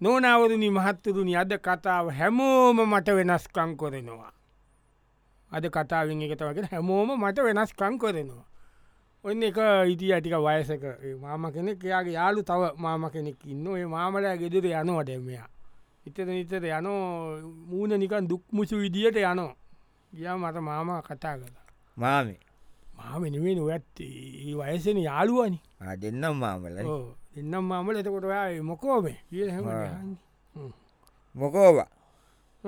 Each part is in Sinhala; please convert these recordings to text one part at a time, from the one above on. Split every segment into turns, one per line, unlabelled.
නෝනවරුණි මහත්තුරුණි අද කතාව හැමෝම මට වෙනස්කං කොරෙනවා. අද කතාවෙන් එකට වගෙන හැමෝම මට වෙනස්කං කොරෙනවා. ඔන්න එක ඉති ඇටික වයසක ඒ මාම කෙනෙක් එයාගේ යාලු තව මාම කෙනෙක් ඉන්න ඒ මාමලෑ ගෙදර යනවට මෙයා. ඉතර නිතර යනෝ මූුණ නිකන් දුක්මුසු විදියට යනෝ ගිය මට මාම කතා කලා.
මාමේ
මාමනිවෙන ඔයත් ඒ වයසෙන යාලුවනි
ආ, දෙන්නම් මාමල
ඕ, එන්නම් මාමල එතකොට ඔයා මොකෝමේ කියල හැම
ආ.
ගහන්නේ. හ්ම්.
මොකෝවා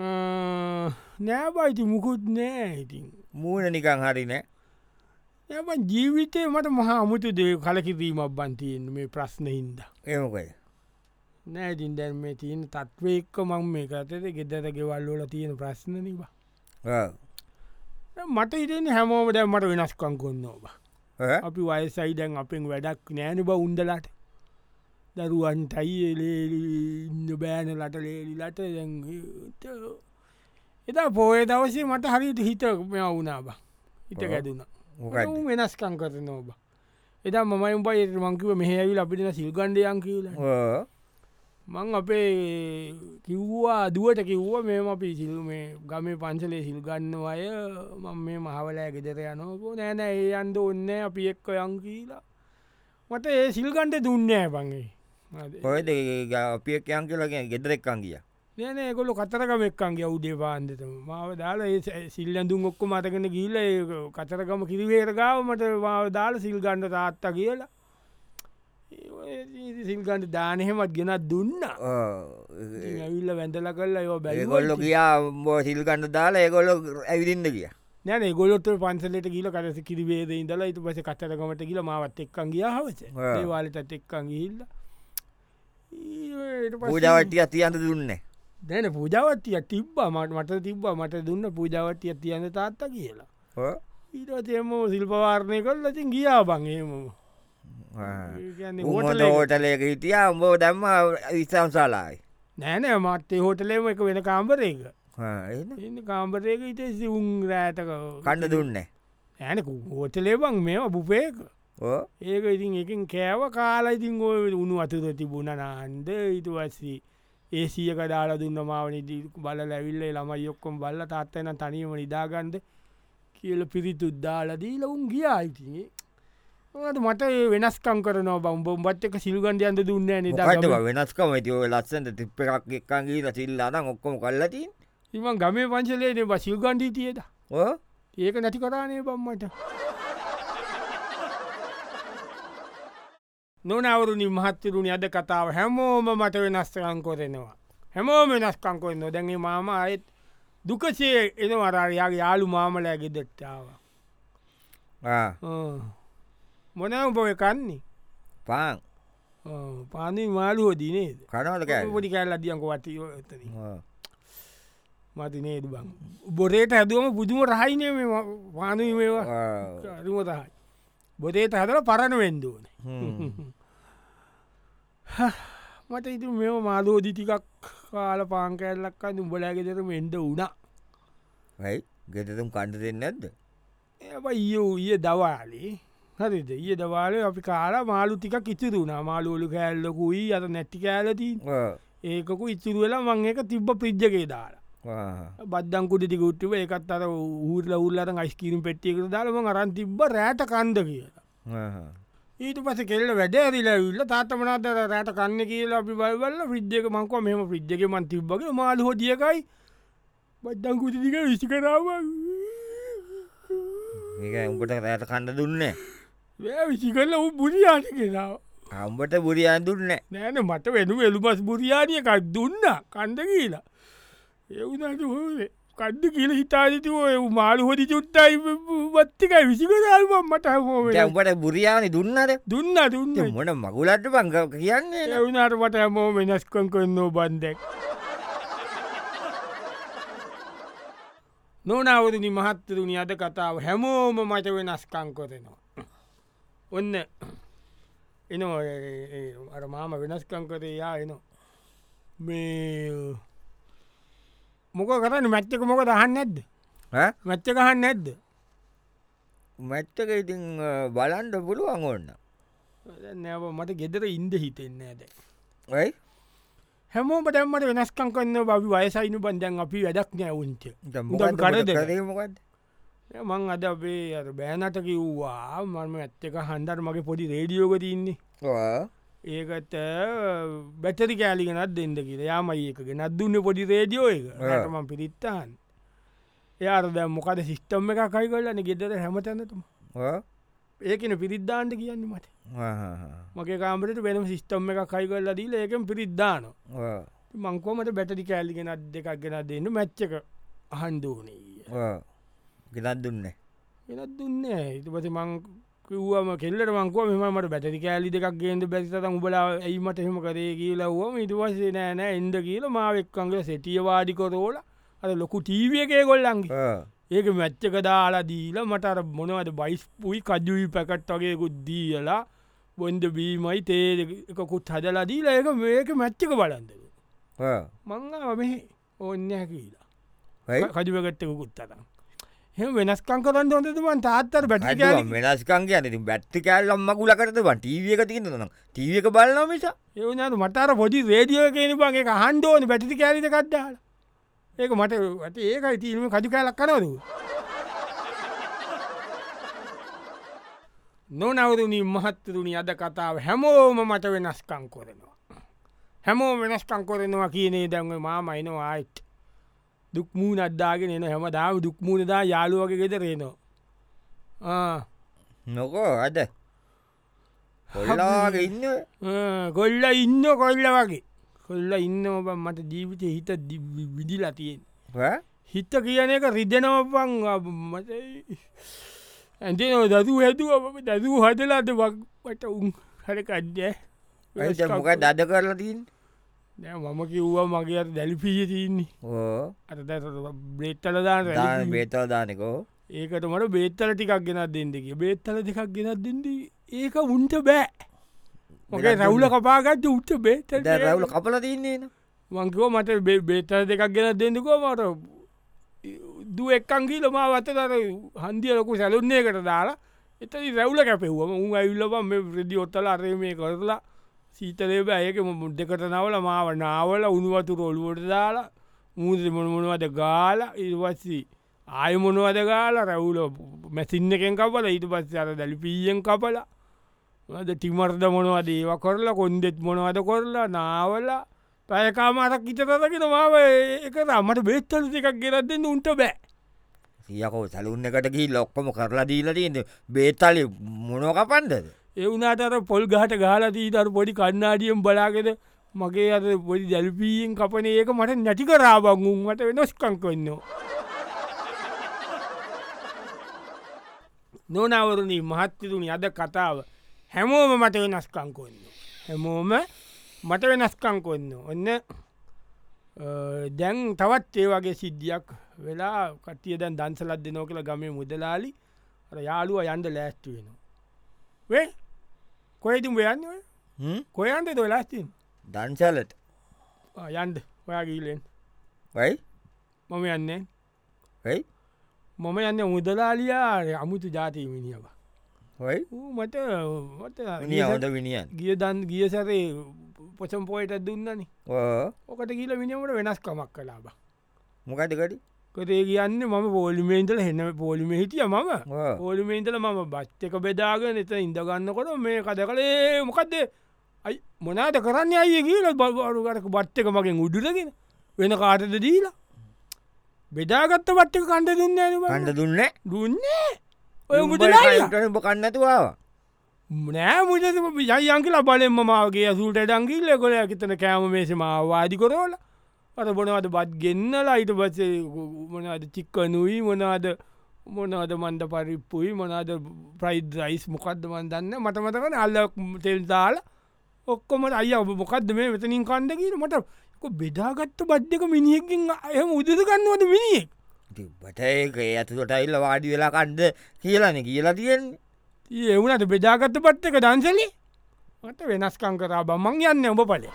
ආ, නෑබයිති මුකුත් නෑ ඉතින්
මූුණ නිකං හරිනෑ
යබන් ජීවිතය මට මහා අමුතු දේ කලකිරීමක් බන්තියෙන් මේ ප්‍රශ්න හින්ද
එමකයි
නෑතින් දැන් මේ තියෙන තත්වේක්ක මං මේ කරතද ගෙදර ගෙවල්ලෝල තියෙන ප්‍රශ්න නිවා මට ඉතින් හැමෝම දැන් මට වෙනස්කං කොන්න ඔබ අපි වයසයි දැන් අපෙන් වැඩක් නෑන බ උන්දලට දරුවන්ටයි එලේලින්න බෑන ලට ලේලිලට දැන් ඒ- එදා පෝය දවසේ මට හරිට හිත මෙ වුණා බා හිත
ඔව්.
ගැදුණ
මොකක්ද
වෙනස්කං කරන ඔබ එදා මමයි උපයි මංකිව මෙහැවිල් අපිට සිල්ගණ්ඩයන් කියලා
ඕ,
මං අපේ කිව්වා දුවට කිව්ව මෙම අපි සිල් මේ ගමේ පන්සලේ සිල්ගන්න අය මං මේ මහවලෑ ගෙදර යනෝකෝ නෑන ඒ අන්ද ඔන්න අපි එක්ක යං කියලා මට ඒ සිල්ගන්ට දුන්නෑ පගේ
කොහෙද ඒ ගා- අපියක් යන් කියලගෙන ගෙදරෙක්කං ගිය
නෑන කොල කතරකම එක්කන්ගේ උදේ පාන්දත මාව දාලා ඒ සැ- සිල්ලඳුන් ඔක්කො මතකෙන ගිල්ල කතරකම කිරිවේරගාව මට මාව දාල සිල්ගන්ඩ තාත්තා කියලා සිල්ගන්ට දානහෙමත් ගෙනත් දුන්නා ඉතින් ඇවිල්ල වැඳල කල්ලා යෝ
ඒගොල්ලො
බැ
කියා බෝ සිල්කන්න දාලා ඒගොල්ලො ඇවිදින්න කිය
නැන ගොලොත්ත පන්සලට ගිල කරස කිරිවේද ඉඳලා ඉතු පස කතරකමට ගිල මවත් එක්කන් ගිය හවස
ආ.
ඒවාලටත් එක්කන් ගිල්ල
පූජාවටිය තියන්ට දුන්න
දැන පූජාවත්තිය තිබ්බා මට මට තිබ්බා මට දුන්න පූජාවත්තිය තියන්න තාත්තා කියලා ඊටතයම සිල්පවාර්ණය කල් ලතින් ගියා බංගේම
උමට ඕටලයක හිටියා උඹෝ දැම්ම විස්සම් සලායි
නෑනෑ මත්තේ හෝටලේම එක වෙන කාම්පරේක ඉන්න කාම්පරේක ඉතේ සිවුන් රෑටක
කණ්ඩ දුන්න
ඇන හෝටලේබං මේවා පුපේක
ඕ
ඒක ඉතින් එකින් කෑව කාලා ඉතින් ඔය උුණු අතුර තිබුණ නාන්ද ඉතුවස්සී ඒ සියක දාලා දුන්න මාවනි බල ලැවිල්ල ළම යොක්කොම් බල්ල තාත්තන තනීම නිදාගන්ද කියල පිරිතුද්දාලදී ලවුන් ගියා ඉතිගේ ඔට මට ඒ වෙනස්කම් කරන බම්බොම්බත් එක සිල්ගන්ඩයන්ද දුන්න
මොකටද
නිදාගම
වෙනස්කම ඇති ඔය ලස්සන්ට තිප්ප එකක් එක්කන් ගීල සිල්ලානම් ඔක්කොම කල්ලතින්
ඉමන් ගමේ පංශලේන බසිල්ගන්ඩී තියද
ඕ
ඒක නැති කරානේ බම්මට නොනවරුණි මහත්තරුණි අද කතාව හැමෝම මට වෙනස්කං කොරෙනවා. හැමෝම වෙනස්කං කොරන්න දැන්ගේ මාම අයත් දුකසේ එන වරාරයාගේ යාලු මාමලෑ ගෙදෙට්ටාව
ආ,
මොනම පොය කන්නේ
පාන්
පානී මාලුව දිනේද
කනවල කෑ
පොඩි කැල්ල දියක වටී එතන මති නේද බං බොරේට හැදුවම පුදුම රහයිනය පානී මේවා අරුමතයි බොදේත හදල පරණ වෙන්දෝන මට ඉතු මෙම මාදෝදිටිකක් කාල පාංකඇල්ලක් අන්න උඹලෑගෙදර මෙන්ඩ වුණා
යි ගෙතතුම් කණ්ඩ දෙන්න නැද්ද
එබ ඊය ඊය දවාලේ හරිද ඊය දවාල අපි කාලා මාළු ටික කිචර වුණා මාළුවලු කෑල්ලකුයි අත නැට්ටි කෑලතින්
ආ,
ඒකු ඉච්චර වෙලා මං එක තිබ්බ පිද්ජගේ දාලා
ආ.
බද්දංකුට ටිකුට්ටව එකත් අර ඌරල උල්ලට අයිස්කිරම් පෙට්ටියක දාලම අරන් තිබ්බ රෑට කන්ද කියලා
ආ.
ඊට පස කෙල්ල වැඩ ඇරිල විල්ල තාතමනාත රෑට කන්න කියලා අපි බල්වල්ල විද්්‍යක මංකව මෙම විද්්‍යක මන් තිබ්බගේ මාල හෝදියකයි බද්දංකුතික විසි කරාව
මේක උඹට රෑට කණ්ඩ දුන්න
විසි කරල ඔ බුරියාට කෙනාව
අම්බට බුරියන් දුන්න
නෑන මට වෙනු එළුබස් බුරියානියකක් දුන්න කන්ද කියලා එවුනට හේ කද්ද කියල හිතාජිතව එ මාළු හොදි චුට්ටයි වත්තිකයි විසිකරල්ම මට හෝ
උඹට බුරියානි දුන්නට
දුන්න දුන්න
මොන මගුලට බංගව කියන්නේ නෑ.
එවුනාට මට හැමෝ වෙනස්කන් කරන්නෝ බන්දැක් නොනවරදි මහත්තරුණි අද කතාව හැමෝම මට වෙනස්කං කොරෙනවා ඔන්න එනවා අර මාම වෙනස්කං කරේ යා එනවා මේ මොක කරන්න මැච්චක මොක දහන්න නැද්ද
ඈ?
මැච්ච ගහන්න නැද්ද
මැච්චක ඉතින් බලන්ඩ පුළුවන් ඔන්න
නැව මට ගෙදර ඉන්ද හිතෙන්නේ ඇද
යි
හැමෝම දැම්මට වෙනස්කං කන්න බවි වයසයිනු බන්දැන් අපි වැඩක් නෑ උන්ට කරද
කරේමකත්
මං අද අපේ අර බෑනට කිව්වා මම ඇත්තක හන්දර් මගේ පොඩි රේඩියෝක තින්නේ ඒකට බැටරි කෑලි ගෙනත් දෙන්න කියලා යාමයි එක ගෙනත් දුන්න පොඩි රේඩියෝ එක
ආ.
ටම පිරිත්තහන් එයාරද මොකද සිිස්ටම් එක කයි කොල්ලන ගෙදර හැමතැනතුම ඒකන පිරිද්ධාන්ට කියන්න මට මගේ කාමරට වෙනම සිිස්ටම් එක කයි කොල්ල දීල ඒකෙන් පිරිද්ධාන මංකෝමට බැටරි කෑලි ගෙනත් දෙකක් ගෙන දෙන්න මැච්චක අහන්දෝනීය
ගෙනත් දුන්න
වෙනත් දුන්න ඉතිපති මං කිව්වම කෙල්ලට මංකුව මෙමට බැටරි කෑලි දෙකක් ගේන්ට බැරිතත උබලා ඇයිමට එහෙම කරේ කියලවුවම ඉටවසේ නෑනෑ එන්ඩ කියල මාවෙක්කංගල සෙටිය වාඩිකොරෝල අද ලොකු ටීවියකේ කොල්ලන්ගේ ඒක මැච්චක දාලා දීල මටර මොනවද බයිස් පුයි කජුයි පැකට් වගේකුත් දීලා බොන්ද බීමයි තේකුත් හදලා දීලා ඒක මේක මැච්චක බලන්ද මංගා මෙ ඕන්න කියලා කජුවකට්ටකුත් තරම් හෙම වෙනස්කං කරන්න හොඳතුමන් තාත්තර බැටි කෑලි
වෙනස්කං කියන බැට්ටි කෑල්ලම් මකුල කරතවන් ටීවියක තියන්න නම් ටීවක බලන නිසා
ඒවනට මටර පොඩි රේඩියෝ කියන බගේ හන්ඩෝන පැටි කෑලිද කට්ඩාල ඒක මට ඇති ඒකයි තීම කජු කෑලක් කරවද නොනවරුණී මහත්තරුණි අද කතාව හැමෝම මට වෙනස්කං කොරනවා හැමෝ වෙනස්කං කොරනවා කියනේ දැන්ව මාමයිනවා ආයිට් දුක්මූ අද්දාගෙන එන හැම දාව දුක්මූුණදා යාලුවගේ ගෙදරේනවා
නොකෝ අද කොල්ලාගේ ඉන්න
කොල්ල ඉන්න කොල්ල වගේ කොල්ල ඉන්න ඔබ මට ජීවිතය හිත දි- විදිලා තියෙන් හිත කියන එක රිදනවපං මට ඇතිනෝ දතු හැතු දතු හදලාද වක්ට උන් හරකඩ්ඩ
මොක දද කරලා තින්
මම කිව්වා මගේ අර දැලිපිය තියන්නේ අත බ්‍රේට්ටලදාන
බේතල් දානකෝ
ඒකට මට බේත්තල ටිකක් ගෙනත් දෙන්නක බේත්තල දෙකක් ගෙනත් දෙද ඒක උන්ට බෑ මොකේ
වෙනත්
රැවුල කපාගත්ත උට බේත
ද රැවුල කපල තින්නේ න
මංකෝ මට බේ- බේතර දෙකක් ගෙන දෙන්නකෝ මට දුව එක්කන් කියීල මා වත තර හන්දිය ලොකු සැලුන්නේකට දාලා එතනි රැවුල කැපෙව්වම උන් ඇවිල්ලබම් මේ ප්‍රදි ඔත්තල අරය මේ කරලා සීතලේබ ඇයක මුද් දෙකට නවල මාව නාවල උනුවතු රොළුවට දාලා මූදි මොනමොනවද ගාල ඉවස්සී ආය මොනවද ගාල රැවුල මැසින්න එකෙන් කපල ඊට පස්ස අර දැලි පීයෙන් කපලා ද ටිමර්ද මොනවද ඒව කරලා කොන්දෙත් මොනවද කොරලා නාවලා පැයකාමාරක් ඉතරදගෙන මාව එක රමට බේත්තල දෙකක් ගෙනත් දෙන්න උන්ට බෑ
සියකෝ සැලුන්න එකටකි ලොක්කම කරලා දීලා තියන්න බේතලි මොනෝ කපන්දද
එවුනාටර පොල් ගහට ගාලතීතර පොඩි කන්නාඩියම් බලාගෙන මගේ අද පොඩි දැල්පීයෙන් කපන ඒක මට නැටි කරාබංගුන්ට වෙනස්කංකවෙන්නවා. නොනවරුණී මහත්තතුනි අද කතාව හැමෝම මට වෙනස්කංකොන්න. හැමෝම මට වෙනස්කංකොන්න ඔන්න අ, දැන් තවත් ඒ වගේ සිද්ධියක් වෙලා කටිය දැන් දන්සලත් දෙනෝ කියලා ගමේ මුදලාලි අර යාළුව යන්ඩ ලෑස්ටි වෙනවා. වේ කොයිතුම් යන්න ඔය? කොයන්ට ද වෙලාස්තින්
දංශලට
යන්ඩ ඔයාගීලෙන්
වයි
මම යන්නේ
වයි
මම යන්න මුදලාලියා අමුතු ජාතිය මිනිියව
හොයි
මට මට
නිය හොඳ විනිියන්
ගිය දන් ගිය සැරේ පොසම් පොයට දුන්නනි ඕකට කියල මිනිමට වෙනස් කමක් කලාබ
මොකටකට
කරේ කියන්න මම පෝලිමේන්තල හෙන්න පෝලිම හිටිය මම පෝලිමේන්තල මම බච්්චක බෙදාගෙන එත ඉඳගන්නකොට මේ කද කළේ මොකක්ද අයි මොනාට කරන්න අය කියල බවරුගරක බට්ටක මගෙන් උඩුරගෙන වෙන කාටද දීලා බෙදාගත්ත පට්ටක කණ්ඩ දෙන්න
කණ්ඩ දුන්න
දුන්නේ ඔය මුදලා
උඹ කන්නතුවා
නෑ මුද යයියන් කියලා බලෙන්ම මාගේ ඇසුල්ට ඩංගිල්ල කොල ඇතන කෑම මේසේ මවාදි කොරෝල අර බොනවද බත් ගෙන්න්නලා ඊට පස්සේ මොනද චික්කනුයි මොනාද මොනවද මන්ද පරිප්පුයි මොනාද ප්‍රයිඩ් රයිස් මොකක්ද මන්දන්න මටමතකන අල්ල තෙල්දාල ඔක්කොමට අය ඔබ මොකක්ද මේ වෙතනින් කණ්ඩකිීට මට බෙදාගත්ත බද්ධක මිනිියකින් එහම උදසගන්නවද මිනිියෙක්
බට ඒක ඇතුට ඉල්ල වාඩි වෙලා කණ්ඩ කියලන කියලා තියෙන්
ඒවුනට බෙදාගත්ත පට්ටක දන්සලි මට වෙනස්කං කරා බමං යන්න ඔබ පලේ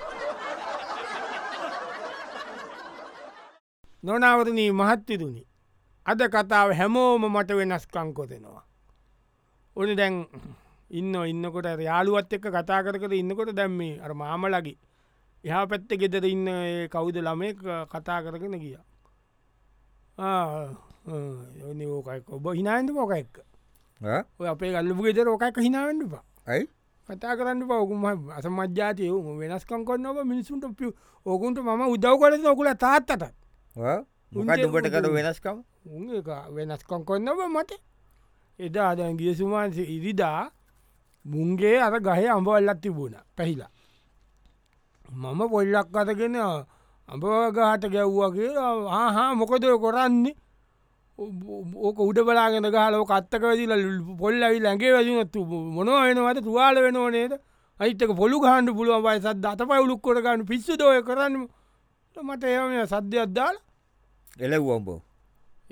නොනවරණී මහත්තිරුණි අද කතාව හැමෝම මට වෙනස්කං කොතෙනවා. ඕනි දැන් ඉන්න ඉන්නකොට යාළුවත් එක්ක කතා කර කර ඉන්නකොට දැම්මේ අර මාමලගේ එහා පැත්ත ගෙදර ඉන්න ඒ කවුද ළමය කතා කරගෙන ගිය ඕෝකයික ඔබ හිනාන්ට පෝකයික්
ඈ?
ඔය අපේ ගල්ලපු ගෙදර ඕකයික හිනාවෙන්ටපා
ඇයි
කතා කරන්න පවකුම අස මජ්‍යාතය වෙනස්කම් කොන්න ඔබ මිනිසුන්ට පිය ඕකුන්ට මම උදව් කලස ඔකුල තාත්තට
ඈ? මොකක්ද
උන්ගේ
උඹට කර
උඹගේ-
වෙනස්කම්
උන් ඒක වෙනස්කම් කොන්නව මට එදා අදන් ගිය සුමාන්සි ඉරිදා මුන්ගේ අර ගහේ අඹවල්ලක් තිබුණ පැහිලා මම පොල්ලක් අතගෙන අඹගහට ගැව්වා කියලා හා මොකද ඔය කොරන්නේ ඔ- ඔ- ඕක උඩ බලාගෙන ගහලෝ කත්තක වැදිල පොල් ඇවි ලැගේ වැදිනතු මොනව වෙනවද තුවාල වෙනව නේද අයිතක පොළු ගහන්ඩ පුළුවන් බයි සද අත පයිුලුක් කොටගන්න පිස්සු දෝය කරන්න මට එම සද්‍යයක් දාලා
එලව්වම්බෝ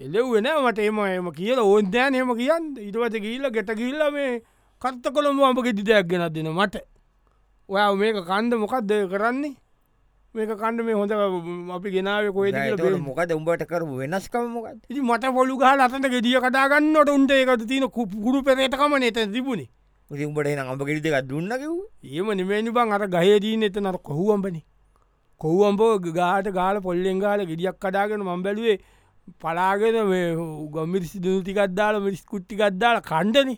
එලෙව්වෙන මට එම එම කියල ඕන්දෑන එම කියන්න ඉටවත කියීල්ල ගෙට කියල්ල මේ කත්ත කොළඹ අප ගෙටිතයක් ගෙනත් දෙන මට ඔයා මේක කණ්ඩ මොකක්ද කරන්නේ මේක කණ්ඩ මේ හොඳ අපි ගෙනාව කොයිද
මොකද උඹට කර වෙනස්කම මොකද
ඉති මට පොළු ගහ අතට ගෙඩිය කටාගන්නට උන්ට එකතු තියන කුපුරු පෙරේටකම නත තිබුණේ
ඉතින් උඹට එන අඹ කිරිදක දුන්න කිව්
ඒම නිමේනි බං අර ගහේදීන එත නර කොහුවම්පනි කොහුවම්පෝ ගාට ගාල පොල්ලෙන් ගාල ගෙඩියක් කඩාගෙන මම් බැලුවේ පලාගෙන ගමිරිසි දතිකත්දාල මිරිස් කුට්ටිකත්දාල කණ්ඩන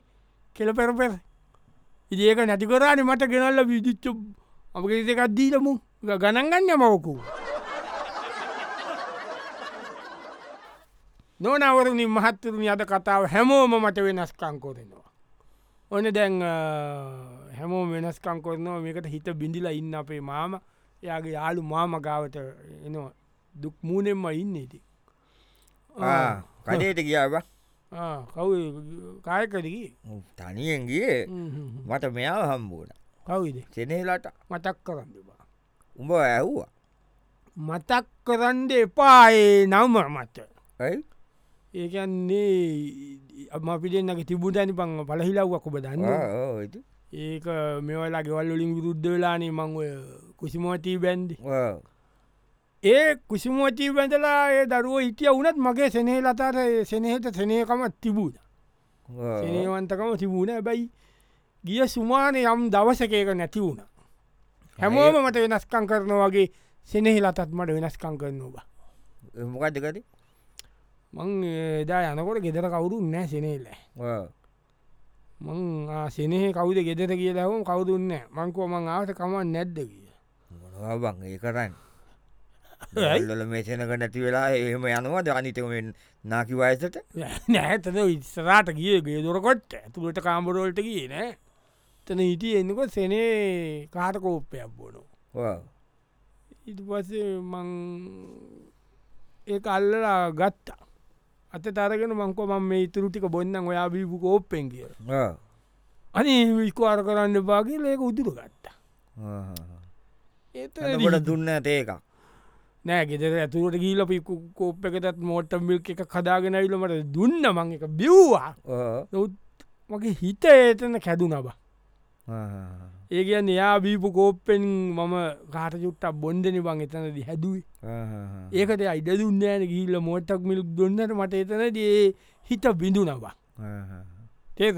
කෙල පෙරපෙර ඉඒක නැතිකරාන මට ගෙනල්ල විදිච්චු අපගේකත්දීලමු ගණන්ගන්න මවකු නොනවරණින් මහත්තරුණ අද කතාව හැමෝම මට වෙනස්කං කොරෙනවා ඕන දැන් හැමෝ වෙනස්කං කොරනවා මේකට හිත බිඳිලා ඉන්න අපේ මාම එයාගේ යාලු මාම ගාවට එනවා දුක් මූනෙන්ම ඉන්න ඉති
කඩේට කියාව
කව කායකරී
තනියෙන්ගේ මට මෙයාව හම්බෝන
කවුද
සෙනේලට
මතක් කරන්න එපා
උඹ ඇහ්වා
මතක් කරන්ඩ එපායේ නවම මත
ඇයි
ඒකන්නේ අම පිටෙන්න්නක තිබුටනි පං පලහිලව්වක් ඔබ දන්න
ආ, ඔව් ඉතින්.
ඒක මෙවලා ගෙවල්ලින් විරුද්ධ වෙලානේ මං ඔය කුසිමෝතිී බැන්දි
ඔව්.
ඒ කුසිමෝචී වැඳලා ඒ දරුව හිටිය වුනත් මගේ සෙනේ ලතාට සෙනහට සෙනයකමත් තිබූද
ඔව්.
සෙනේවන්තකම තිබුණ ඇබැයි ගිය සුමාන යම් දවසකයක නැති වුණ හැමෝම මට වෙනස්කං කරන වගේ සෙනෙහි ලතත් මට වෙනස්කං කරනවා
මොකක්දකද
මං එදා යනකොට ගෙදර කවුරු නෑ සෙනේල මං ආ සෙනෙහ කවුද ගෙදර කියලාවම කවුදුන්න මංකෝ මං ආවට කමන් නැද්ද කිය
මොනවාබං ඒ කරන්න
ඇයි?
ල්ල මේසනක නැති වෙලා එහෙම යනවාද අනිතකෙන් නාකි වයසට
නැතද ඉස්සරාට ගිය ගේදොරකොට්ට ඇතුළට කාම්බරෝල්ට කිය නෑ තන හිටිය එන්නකො සෙනේ කාට කෝප්පයක් බොනු
ඔව්.
ඉට පස මං ඒ අල්ලලා ගත්තා අත තරගෙන මංකෝ මම මේ ඉතුරු ටික බොන්න ඔයා බීපු කෝප්පෙන් කිය
ඔව්.
අනේ විස්කාර කරන්න බාගේ ඒක උදුර ගත්තා
ආහ්.
ඒතකොට
එතකොට දුන්න ඇතේක
නෑ ගෙදර ඇතුරට ගීල පිකු කෝප් එකටත් මෝටම් මිල්ක එක කදාගෙනවිලමට දුන්න මං එක බිව්වා නොත් මගේ හිත ඒතන කැදුන බා ඒ කියන්න එයා බීපු කෝප්පෙන් මම කාට චුට්ටක් බොන්ඩන බං එතනද හැදුවේ ඒකට අයිඩ දුන්නෑන ගිල්ල මෝටක් මිල් දුන්නට මට එතනදේ හිත බිඳු නවා තේක